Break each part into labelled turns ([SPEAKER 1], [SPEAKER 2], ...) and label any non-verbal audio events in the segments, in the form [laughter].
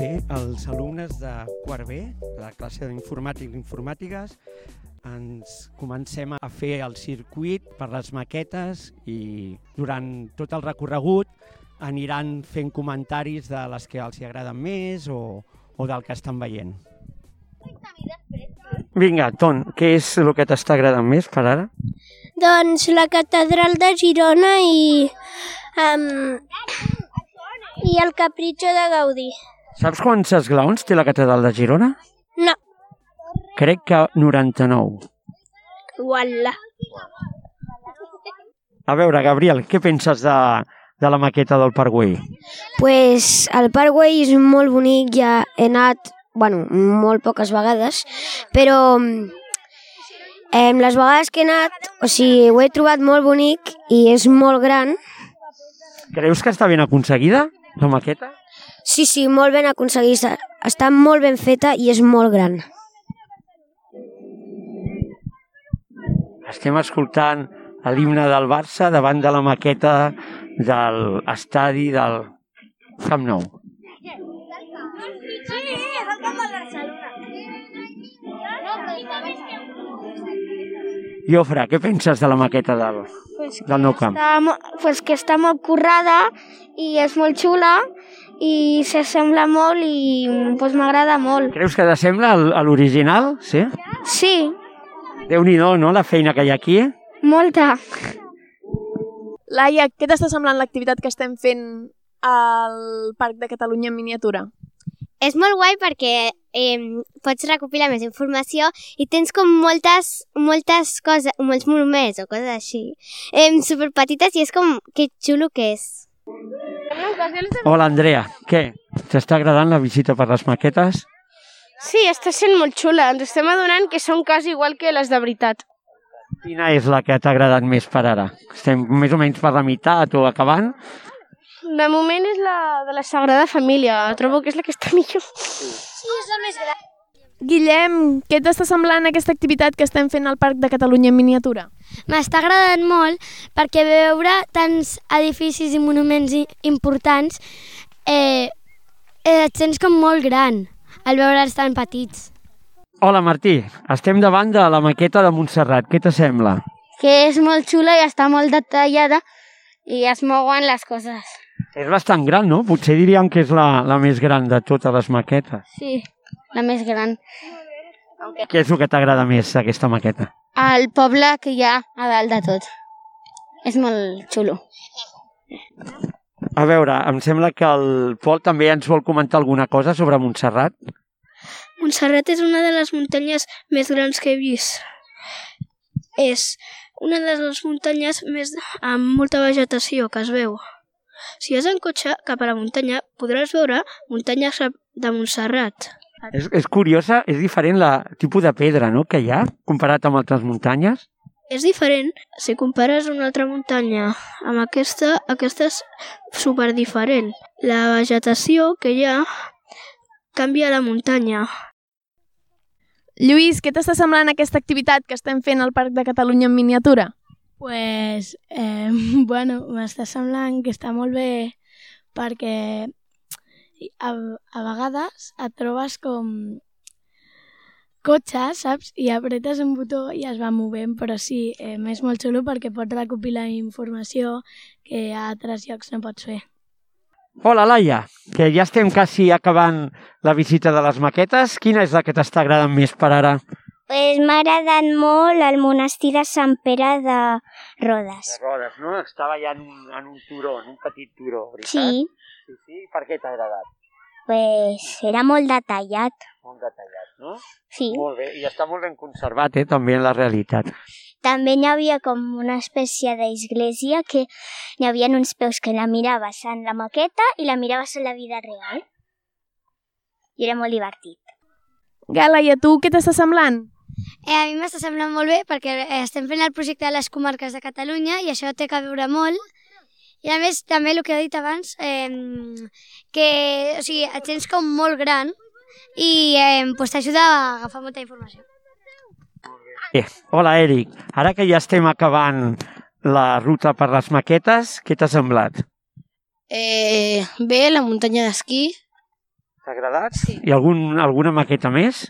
[SPEAKER 1] els alumnes de quart B, de la classe d'informàtic i informàtiques, ens comencem a fer el circuit per les maquetes i durant tot el recorregut aniran fent comentaris de les que els hi agraden més o, o del que estan veient. Vinga, Ton, què és el que t'està agradant més per ara?
[SPEAKER 2] Doncs la catedral de Girona i, um, i el capritxo de Gaudí.
[SPEAKER 1] Saps quants esglaons té la catedral de Girona?
[SPEAKER 2] No,
[SPEAKER 1] Crec que 99.
[SPEAKER 2] uala.
[SPEAKER 1] A veure, Gabriel, què penses de, de la maqueta del Parkway?
[SPEAKER 3] Pues el Parkway és molt bonic, ja he anat, bueno, molt poques vegades, però eh, les vegades que he anat, o sigui, ho he trobat molt bonic i és molt gran.
[SPEAKER 1] Creus que està ben aconseguida, la maqueta?
[SPEAKER 3] Sí, sí, molt ben aconseguida. Està molt ben feta i és molt gran.
[SPEAKER 1] Estem escoltant l'himne del Barça davant de la maqueta del estadi del Camp Nou. Jofre, què penses de la maqueta del,
[SPEAKER 4] Pues
[SPEAKER 1] del Nou Camp?
[SPEAKER 4] Està, mo- pues que està molt currada i és molt xula i s'assembla molt i pues, m'agrada molt.
[SPEAKER 1] Creus que t'assembla el- a l'original? Sí?
[SPEAKER 4] Sí,
[SPEAKER 1] Déu-n'hi-do, no?, la feina que hi ha aquí.
[SPEAKER 4] molta.
[SPEAKER 5] Laia, què t'està semblant l'activitat que estem fent al Parc de Catalunya en miniatura?
[SPEAKER 6] És molt guai perquè eh, pots recopilar més informació i tens com moltes, moltes coses, molts monuments o coses així, eh, superpetites i és com que xulo que és.
[SPEAKER 1] Hola, Andrea, què? T'està agradant la visita per les maquetes?
[SPEAKER 7] Sí, està sent molt xula. Ens estem adonant que són quasi igual que les de veritat.
[SPEAKER 1] Quina és la que t'ha agradat més per ara? Estem més o menys per la meitat o acabant?
[SPEAKER 7] De moment és la de la Sagrada Família. Trobo que és la que està millor.
[SPEAKER 5] Guillem, què t'està semblant aquesta activitat que estem fent al Parc de Catalunya en miniatura?
[SPEAKER 8] M'està agradant molt perquè veure tants edificis i monuments i- importants eh, eh, et sents com molt gran al veure'ls tan petits.
[SPEAKER 1] Hola, Martí, estem davant de la maqueta de Montserrat. Què t'assembla?
[SPEAKER 7] Que és molt xula i està molt detallada i es mouen les coses.
[SPEAKER 1] És bastant gran, no? Potser diríem que és la, la més gran de totes les maquetes.
[SPEAKER 7] Sí, la més gran.
[SPEAKER 1] Què és el que t'agrada més d'aquesta maqueta?
[SPEAKER 7] El poble que hi ha a dalt de tot. És molt xulo.
[SPEAKER 1] A veure, em sembla que el Pol també ens vol comentar alguna cosa sobre Montserrat.
[SPEAKER 2] Montserrat és una de les muntanyes més grans que he vist. És una de les muntanyes més amb molta vegetació que es veu. Si vas en cotxe cap a la muntanya, podràs veure muntanyes de Montserrat.
[SPEAKER 1] És, és curiosa, és diferent la tipus de pedra no? que hi ha comparat amb altres muntanyes.
[SPEAKER 2] És diferent si compares una altra muntanya amb aquesta, aquesta és superdiferent. La vegetació que hi ha canvia la muntanya.
[SPEAKER 5] Lluís, què t'està semblant aquesta activitat que estem fent al Parc de Catalunya en miniatura?
[SPEAKER 8] Pues, eh, [laughs] bueno, m'està semblant que està molt bé perquè a, a vegades et trobes com cotxes, saps? I apretes un botó i es va movent, però sí, eh, és molt xulo perquè pots recopilar informació que a altres llocs no pots fer.
[SPEAKER 1] Hola, Laia, que ja estem quasi acabant la visita de les maquetes. Quina és la que t'està agradant més per ara?
[SPEAKER 6] Pues m'ha agradat molt el monestir de Sant Pere de Rodes.
[SPEAKER 1] rodes, no? Estava ja en un, en un turó, en un petit turó,
[SPEAKER 6] Sí,
[SPEAKER 1] sí, sí. Per què t'ha agradat?
[SPEAKER 6] pues era molt detallat,
[SPEAKER 1] Molt detallat, no?
[SPEAKER 6] sí.
[SPEAKER 1] Molt bé, i està molt ben conservat, eh, també en la realitat.
[SPEAKER 6] També n'hi havia com una espècie d'església que n'hi havia uns peus que la miraves en la maqueta i la miraves en la vida real. I era molt divertit.
[SPEAKER 5] Gala, i a tu què t'està semblant?
[SPEAKER 8] Eh, a mi m'està semblant molt bé perquè eh, estem fent el projecte de les comarques de Catalunya i això té que veure molt. I a més, també el que he dit abans, eh, que o sigui, et sents com molt gran i eh, doncs t'ajuda a agafar molta informació.
[SPEAKER 1] Eh, hola, Eric. Ara que ja estem acabant la ruta per les maquetes, què t'ha semblat?
[SPEAKER 7] Eh, bé, la muntanya d'esquí
[SPEAKER 1] T'ha agradat?
[SPEAKER 9] Sí.
[SPEAKER 1] I algun, alguna maqueta més?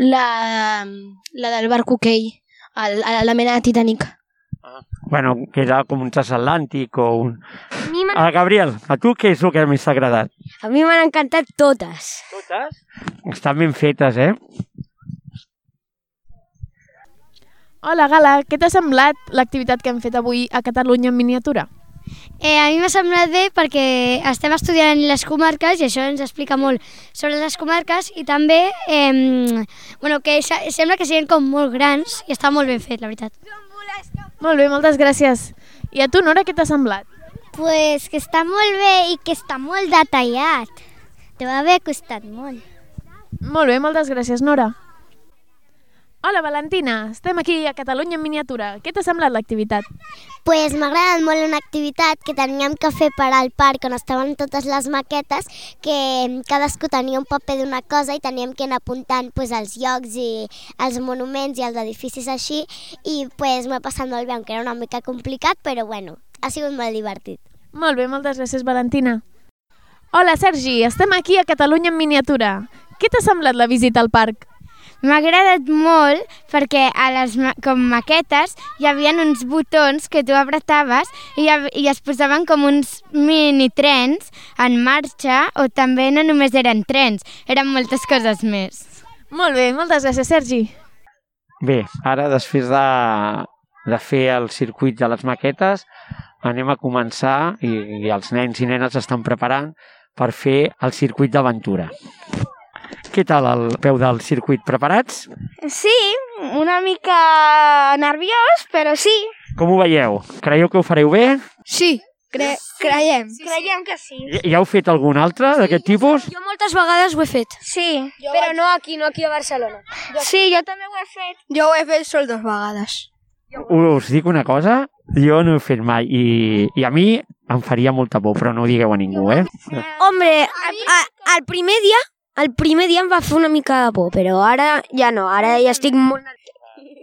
[SPEAKER 9] La, la del barco Key, el, a la mena de Titanic.
[SPEAKER 1] Ah. Bueno, que era com un transatlàntic o un... Ah, Gabriel, a tu què és el que més t'ha agradat?
[SPEAKER 6] A mi m'han encantat totes.
[SPEAKER 1] Totes? Estan ben fetes, eh?
[SPEAKER 5] Hola, Gala, què t'ha semblat l'activitat que hem fet avui a Catalunya en miniatura?
[SPEAKER 10] Eh, a mi m'ha semblat bé perquè estem estudiant les comarques i això ens explica molt sobre les comarques i també eh, bueno, que se- sembla que siguin com molt grans i està molt ben fet, la veritat.
[SPEAKER 5] Molt bé, moltes gràcies. I a tu, Nora, què t'ha semblat?
[SPEAKER 10] Pues que està molt bé i que està molt detallat. Te va haver costat molt.
[SPEAKER 5] Molt bé, moltes gràcies, Nora. Hola, Valentina, estem aquí a Catalunya en miniatura. Què t'ha semblat l'activitat?
[SPEAKER 8] Pues m'ha agradat molt una activitat que teníem que fer per al parc on estaven totes les maquetes que cadascú tenia un paper d'una cosa i teníem que anar apuntant pues, els llocs i els monuments i els edificis així i pues, m'ho he passat molt bé, aunque era una mica complicat, però bueno, ha sigut molt divertit.
[SPEAKER 5] Molt bé, moltes gràcies, Valentina. Hola, Sergi, estem aquí a Catalunya en miniatura. Què t'ha semblat la visita al parc?
[SPEAKER 11] M'ha agradat molt perquè a les ma com maquetes hi havia uns botons que tu apretaves i, hi hav- i es posaven com uns mini trens en marxa o també no només eren trens, eren moltes coses més.
[SPEAKER 5] Molt bé, moltes gràcies, Sergi.
[SPEAKER 1] Bé, ara després de, de fer el circuit de les maquetes anem a començar i, i els nens i nenes estan preparant per fer el circuit d'aventura. Què tal el peu del circuit? Preparats?
[SPEAKER 4] Sí, una mica nerviós, però sí.
[SPEAKER 1] Com ho veieu? Creieu que ho fareu bé?
[SPEAKER 9] Sí,
[SPEAKER 4] cre creiem. Sí, sí. Creiem que sí.
[SPEAKER 1] Ja- Ja heu fet algun altre d'aquest tipus?
[SPEAKER 4] Jo moltes vegades ho he fet. Sí, jo però vaig... no aquí, no aquí a Barcelona. Jo... Sí, jo també ho he fet. Jo ho he fet sol dues vegades.
[SPEAKER 1] Us dic una cosa, jo no ho he fet mai i, i a mi em faria molta por, però no ho digueu a ningú, eh?
[SPEAKER 4] Ah,
[SPEAKER 6] Ah, Hombre, al, a, al primer dia, el primer dia em va fer una mica de por, però ara ja no, ara ja estic molt...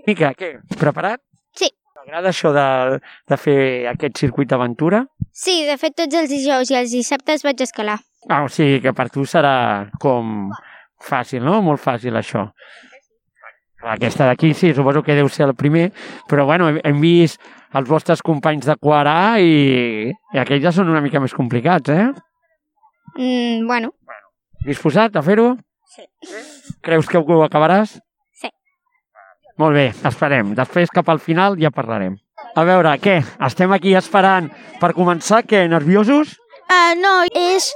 [SPEAKER 1] Mica, què? Preparat?
[SPEAKER 6] Sí.
[SPEAKER 1] T'agrada això de, de fer aquest circuit d'aventura?
[SPEAKER 8] Sí, de fet tots els dijous i els dissabtes vaig escalar.
[SPEAKER 1] Ah, o sigui que per tu serà com fàcil, no? Molt fàcil, això. Aquesta d'aquí sí, suposo que deu ser el primer, però bueno, hem- hem vist els vostres companys de quart A i, i aquells ja són una mica més complicats, eh?
[SPEAKER 11] Mm, bueno.
[SPEAKER 1] Disposat a fer-ho? Sí. Creus que ho acabaràs?
[SPEAKER 11] Sí.
[SPEAKER 1] Molt bé, esperem. Després, cap al final, ja parlarem. A veure, què? Estem aquí esperant per començar, què? Nerviosos?
[SPEAKER 12] Uh, no, és,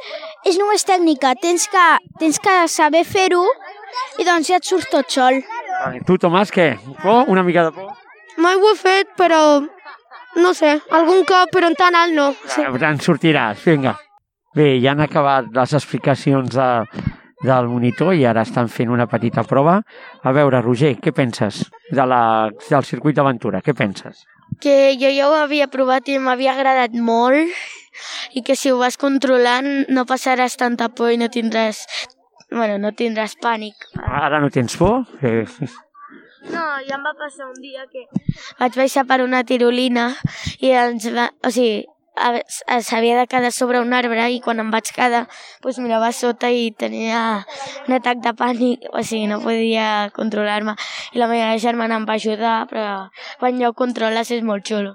[SPEAKER 12] és només tècnica. Tens que, tens que saber fer-ho i doncs ja et surt tot sol.
[SPEAKER 1] Vale, Tu, Tomàs, què? Por? Una mica de por?
[SPEAKER 12] Mai ho he fet, però no sé, algun cop, però en tant alt no.
[SPEAKER 1] Sí. Te'n sortiràs, vinga. Bé, ja han acabat les explicacions de, del monitor i ara estan fent una petita prova. A veure, Roger, què penses de la, del circuit d'aventura? Què penses?
[SPEAKER 13] que jo ja ho havia provat i m'havia agradat molt i que si ho vas controlant no passaràs tanta por i no tindràs, bueno, no tindràs pànic.
[SPEAKER 1] Ara no tens por? Eh,
[SPEAKER 13] No, ja em va passar un dia que... Vaig baixar per una tirolina i ens va... O sigui, a- s- s'havia de quedar sobre un arbre i quan em vaig quedar, doncs mirava a sota i tenia un atac de pànic, o sigui, no podia controlar-me. I la meva germana em va ajudar, però quan jo ho controles és molt xulo.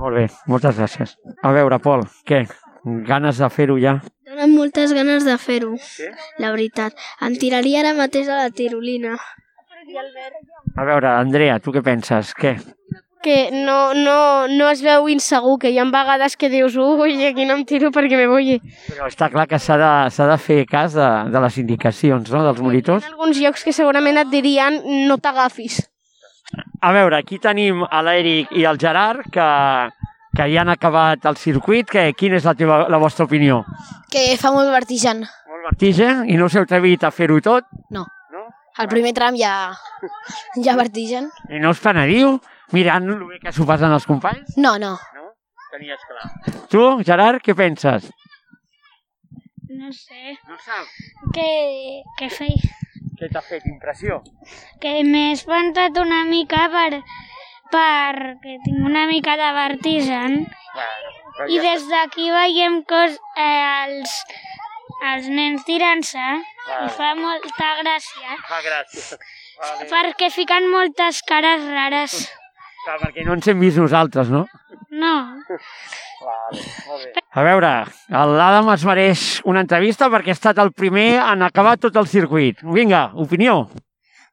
[SPEAKER 1] Molt bé, moltes gràcies. A veure, Pol, què? Ganes de fer-ho ja?
[SPEAKER 14] Donen moltes ganes de fer-ho, la veritat. Em tiraria ara mateix a la tirolina.
[SPEAKER 1] A veure, Andrea, tu què penses? Què?
[SPEAKER 15] que no, no, no es veu insegur, que hi ha vegades que dius ui, aquí no em tiro perquè me voy.
[SPEAKER 1] Però està clar que s'ha de, s'ha de fer cas de, de les indicacions, no?, dels monitors.
[SPEAKER 15] Hi ha alguns llocs que segurament et dirien no t'agafis.
[SPEAKER 1] A veure, aquí tenim a l'Eric i el Gerard, que, que ja han acabat el circuit. Que, quina és la, teva, la vostra opinió?
[SPEAKER 15] Que fa molt vertigen.
[SPEAKER 1] Vertigen? I no us heu atrevit a fer-ho tot?
[SPEAKER 15] No. no? El primer tram ja, ja vertigen.
[SPEAKER 1] I no us penediu? Mirant el bé que s'ho passen els companys?
[SPEAKER 15] No, no.
[SPEAKER 1] Tenies clar. Tu, Gerard, què penses?
[SPEAKER 2] No sé.
[SPEAKER 1] No sap.
[SPEAKER 2] Que, que, fe...
[SPEAKER 1] Què t'ha fet impressió?
[SPEAKER 2] que m'he espantat una mica per, perquè tinc una mica de vertigen.
[SPEAKER 1] Bueno,
[SPEAKER 2] I des d'aquí veiem cos, eh, els, els nens tirant-se i
[SPEAKER 16] Vale.
[SPEAKER 2] fa molta gràcia
[SPEAKER 16] Ah, gràcies. Vale.
[SPEAKER 2] perquè fiquen moltes cares rares.
[SPEAKER 1] Clar, perquè no ens hem vist nosaltres, no?
[SPEAKER 2] No,
[SPEAKER 16] Vale, molt bé.
[SPEAKER 1] A veure, l'Adam es mereix una entrevista perquè ha estat el primer en acabar tot el circuit. Vinga, opinió.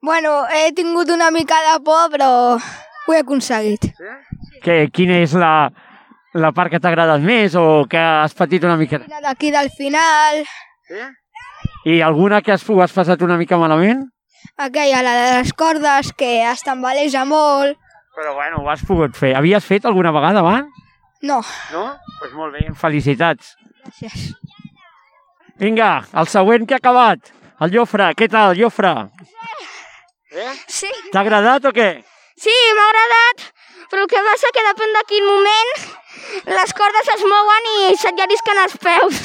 [SPEAKER 17] Bueno, he tingut una mica de por, però ho he aconseguit.
[SPEAKER 1] Que, quina és la, la part que t'ha agradat més o que has patit una mica?
[SPEAKER 17] La d'aquí del final,
[SPEAKER 1] I alguna que has, ho has passat una mica malament?
[SPEAKER 17] aquella, la de les cordes, que es tambaleja molt.
[SPEAKER 1] Però bueno, ho has pogut fer. Havies fet alguna vegada abans?
[SPEAKER 17] No.
[SPEAKER 1] No? Doncs pues molt bé. Felicitats.
[SPEAKER 17] Gràcies.
[SPEAKER 1] Vinga, el següent que ha acabat. El Jofre, què tal, Jofre?
[SPEAKER 18] Sí,
[SPEAKER 1] T'ha agradat o què?
[SPEAKER 18] sí m'ha agradat, però el que passa que depèn de quin moment les cordes es mouen i se't llarisquen els peus.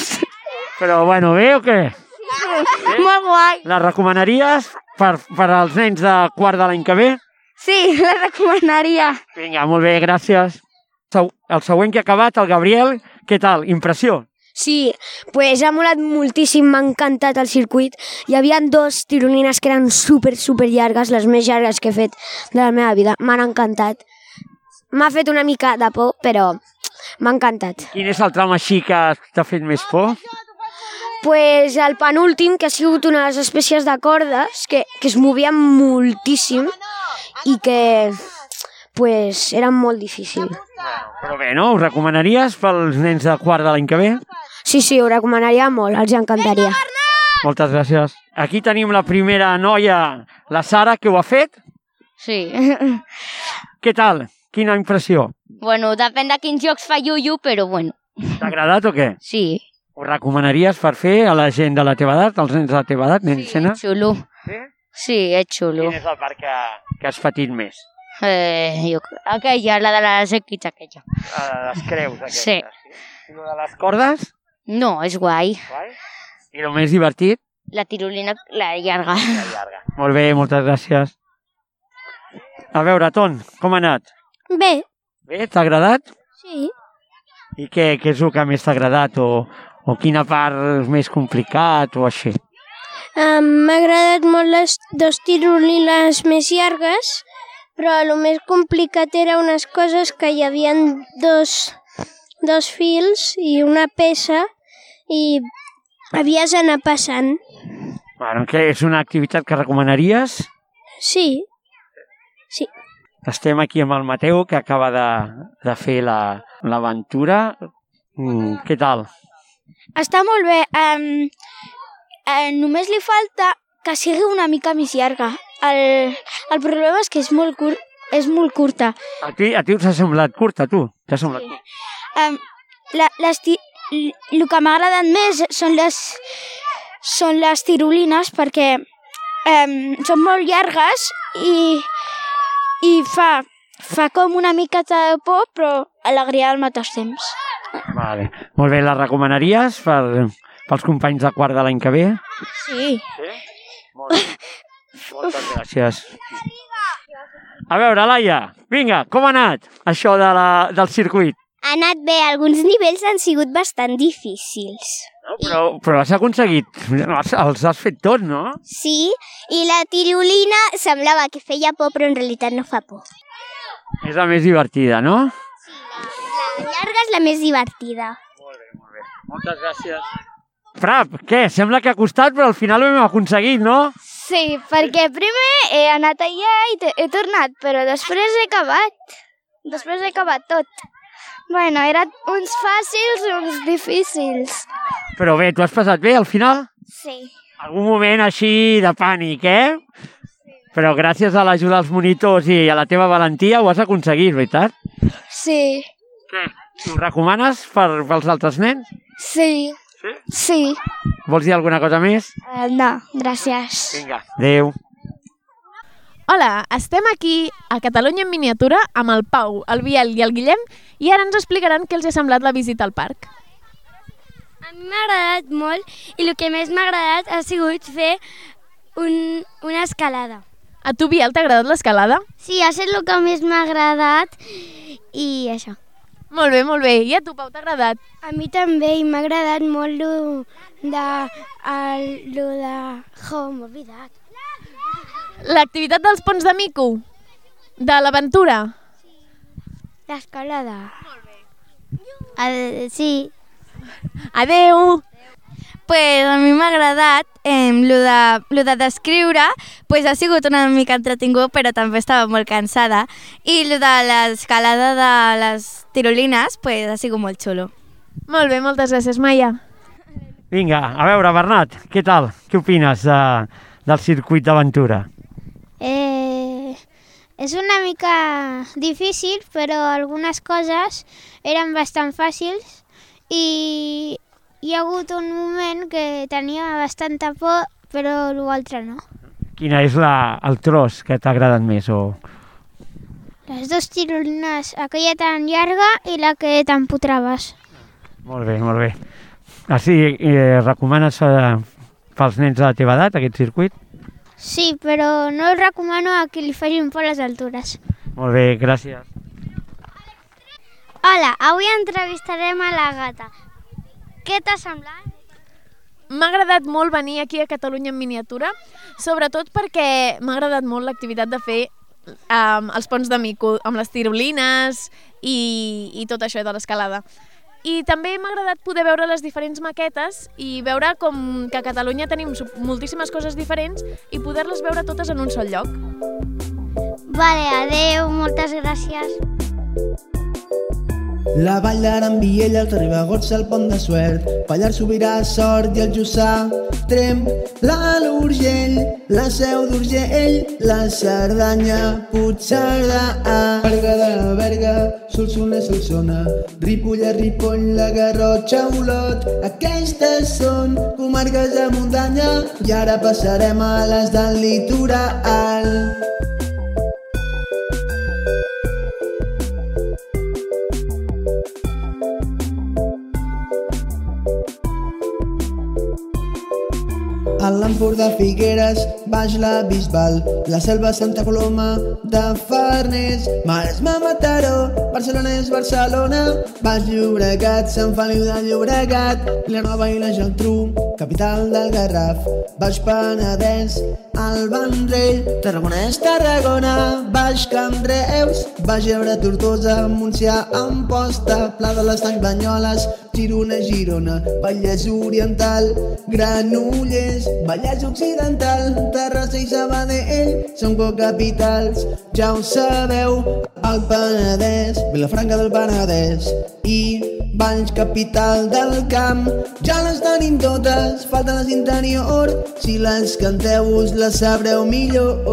[SPEAKER 1] Però bueno, bé o què?
[SPEAKER 18] Molt guai.
[SPEAKER 1] La recomanaries per, per als nens de quart de l'any que ve?
[SPEAKER 18] Sí, la recomanaria.
[SPEAKER 1] Vinga, molt bé, gràcies. Seg- El següent que ha acabat, el Gabriel, què tal? Impressió?
[SPEAKER 6] Sí, pues ha molat moltíssim, m'ha encantat el circuit. Hi havia dos tirolines que eren super, super llargues, les més llargues que he fet de la meva vida. M'han encantat. M'ha fet una mica de por, però m'ha encantat.
[SPEAKER 1] Quin és el tram així que t'ha fet més por?
[SPEAKER 6] Pues el penúltim, que ha sigut unes espècies de cordes que, que es movien moltíssim i que pues, eren molt difícil.
[SPEAKER 1] Però bé, no? Ho recomanaries pels nens de quart de l'any que ve?
[SPEAKER 6] Sí, sí, ho recomanaria molt, els encantaria.
[SPEAKER 1] Moltes gràcies. Aquí tenim la primera noia, la Sara, que ho ha fet.
[SPEAKER 19] Sí. [laughs]
[SPEAKER 1] Què tal? Quina impressió?
[SPEAKER 19] bueno, depèn de quins jocs fa Yuyu, però bueno.
[SPEAKER 1] T'ha agradat o què?
[SPEAKER 19] Sí.
[SPEAKER 1] Ho recomanaries per fer a la gent de la teva edat, als nens de la teva edat, nens sí,
[SPEAKER 19] Xulo.
[SPEAKER 1] Sí?
[SPEAKER 19] Sí, és xulo.
[SPEAKER 1] Quin és el parc que, que has patit més?
[SPEAKER 19] Eh, jo... Aquella, la de les equits, aquella.
[SPEAKER 1] A eh, les creus, aquestes.
[SPEAKER 19] Sí.
[SPEAKER 1] I lo de les cordes?
[SPEAKER 19] No, és guai.
[SPEAKER 1] Guai? I el més divertit?
[SPEAKER 19] La tirolina, la llarga. La
[SPEAKER 1] llarga. Molt bé, moltes gràcies. A veure, Ton, com ha anat?
[SPEAKER 18] Bé,
[SPEAKER 1] Bé, t'ha agradat?
[SPEAKER 18] sí.
[SPEAKER 1] I què, què és el que més t'ha agradat? O, o quina part és més complicat o així?
[SPEAKER 20] Em M'ha agradat molt les dos tirolines més llargues, però el més complicat era unes coses que hi havia dos, dos fils i una peça i havies d'anar passant.
[SPEAKER 1] Bueno, què és una activitat que recomanaries?
[SPEAKER 20] Sí, sí.
[SPEAKER 1] Estem aquí amb el Mateu, que acaba de, de fer la- l'aventura. La, mm, què tal?
[SPEAKER 7] Està molt bé. Um, eh, només li falta que sigui una mica més llarga. El, el problema és que és molt, cur, és molt curta.
[SPEAKER 1] A ti, a ti us ha semblat curta, tu? T'ha semblat curta?
[SPEAKER 7] Um, la, les ti, l- el que m'ha agradat més són les, són les tirolines perquè um, són molt llargues i, i fa, fa com una mica de por, però alegria al mateix temps.
[SPEAKER 1] Vale. Molt bé, la recomanaries per, pels companys de quart de l'any que ve?
[SPEAKER 7] Sí.
[SPEAKER 1] Molt bé. Moltes gràcies. A veure, Laia, vinga, com ha anat això de la, del circuit?
[SPEAKER 8] Ha anat bé, alguns nivells han sigut bastant difícils.
[SPEAKER 1] No, però, però has aconseguit, els, els has fet tot, no?
[SPEAKER 8] Sí, i la tirolina semblava que feia por, però en realitat no fa por.
[SPEAKER 1] És la més divertida, no?
[SPEAKER 8] La llarga és la més divertida.
[SPEAKER 1] Moltes gràcies. Frap, què? Sembla que ha costat, però al final ho hem aconseguit, no?
[SPEAKER 7] Sí, perquè primer he anat allà i t- he tornat, però després he acabat. Després he acabat tot. Bueno, eren uns fàcils i uns difícils.
[SPEAKER 1] Però bé, t'ho has passat bé al final?
[SPEAKER 7] Sí.
[SPEAKER 1] Algun moment així de pànic, eh? Però gràcies a l'ajuda dels monitors i a la teva valentia ho has aconseguit, veritat?
[SPEAKER 7] Sí.
[SPEAKER 1] Ho recomanes per, pels altres nens?
[SPEAKER 7] Sí. Sí? Sí.
[SPEAKER 1] Vols dir alguna cosa més?
[SPEAKER 7] Eh, no, gràcies.
[SPEAKER 1] Vinga. Adéu.
[SPEAKER 5] Hola, estem aquí a Catalunya en miniatura amb el Pau, el Biel i el Guillem i ara ens explicaran què els ha semblat la visita al parc.
[SPEAKER 21] A mi m'ha agradat molt i el que més m'ha agradat ha sigut fer un, una escalada.
[SPEAKER 5] A tu, Biel, t'ha agradat l'escalada?
[SPEAKER 21] Sí, ha estat el que més m'ha agradat i això.
[SPEAKER 5] Molt bé, molt bé. I a tu, Pau, t'ha agradat?
[SPEAKER 10] A mi també, i m'ha agradat molt lo de, el, lo de... Jo, m'he oblidat.
[SPEAKER 5] L'activitat dels ponts de mico, de l'aventura.
[SPEAKER 10] L'escalada.
[SPEAKER 9] El, sí.
[SPEAKER 5] Adeu!
[SPEAKER 11] Pues a mi m'ha agradat eh, lo, de, lo de descriure, pues ha sigut una mica entretingut, però també estava molt cansada. I lo de l'escalada de les tirolines, pues ha sigut molt xulo.
[SPEAKER 5] Molt bé, moltes gràcies, Maia.
[SPEAKER 1] Vinga, a veure, Bernat, què tal? Què opines de, del circuit d'aventura?
[SPEAKER 22] Eh, és una mica difícil, però algunes coses eren bastant fàcils i hi ha hagut un moment que tenia bastanta por, però l'altre no.
[SPEAKER 1] Quina és la, el tros que t'ha agradat més? O...
[SPEAKER 22] Les dues tirolines, aquella tan llarga i la que t'empotraves.
[SPEAKER 1] Molt bé, molt bé. Així, eh, recomanes eh, pels nens de la teva edat aquest circuit?
[SPEAKER 22] Sí, però no el recomano a qui li facin por les altures.
[SPEAKER 1] Molt bé, gràcies.
[SPEAKER 22] Hola, avui entrevistarem a la gata. Què t'ha semblat?
[SPEAKER 5] M'ha agradat molt venir aquí a Catalunya en miniatura, sobretot perquè m'ha agradat molt l'activitat de fer um, els ponts de mico amb les tirolines i, i tot això de l'escalada. I també m'ha agradat poder veure les diferents maquetes i veure com que a Catalunya tenim su- moltíssimes coses diferents i poder-les veure totes en un sol lloc.
[SPEAKER 22] Vale, adeu, moltes gràcies.
[SPEAKER 23] La vall d'Aran, Viella, els Ribegots, el Pont de Suert, Pallars Sobirà, Sort i el Jussà, Trem, l'Alt Urgell, la Seu d'Urgell, la Cerdanya, Puigcerdà, Berguedà, Berga, Solsona, Solsona, Ripollà, Ripoll, la Garrotxa, Olot, aquestes són comarques de muntanya i ara passarem a les del litoral. A l'Empordà Figueres, baix la Bisbal, la Selva Santa Coloma de Farners, Maresme Mataró, Barcelona és Barcelona, Baix Llobregat, Sant Feliu de Llobregat, Vilanova i la Geltrú, capital del Garraf, Baix Penedès, el Vendrell, Tarragona és Tarragona, Baix Camp Reus, Baix Ebre, Tortosa, Montsià, Amposta, Pla de les Tancs Banyoles, Girona, Girona, Vallès Oriental, Granollers, Vallès Occidental, Terrassa i Sabadell són cocapitals, ja ho sabeu, el Penedès, Vilafranca del Penedès i Valls capital del camp. Ja les tenim totes, falten les interior, si les canteu us les sabreu millor.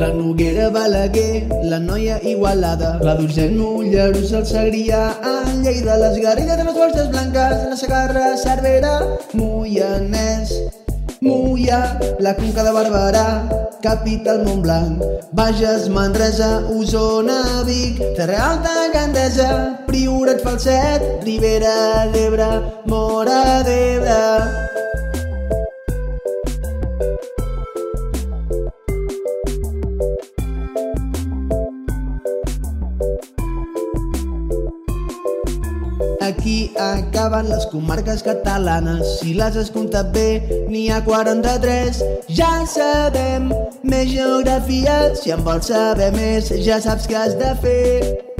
[SPEAKER 23] La Noguera Balaguer, la noia Igualada, la Dorcel Mollerussa, el Segrià, en Lleida, les Garrigues de les Borges Blanques, la Segarra, Cervera, Moianès, Moia, la Conca de Barberà, capital Montblanc, Bages, Manresa, Osona, Vic, Terra Alta, Gandesa, Priorat, Falset, Ribera d'Ebre, Mora d'Ebre. Aquí acaben les comarques catalanes, si les has comptat bé, n'hi ha 43. Ja sabem més geografia, si en vols saber més, ja saps què has de fer.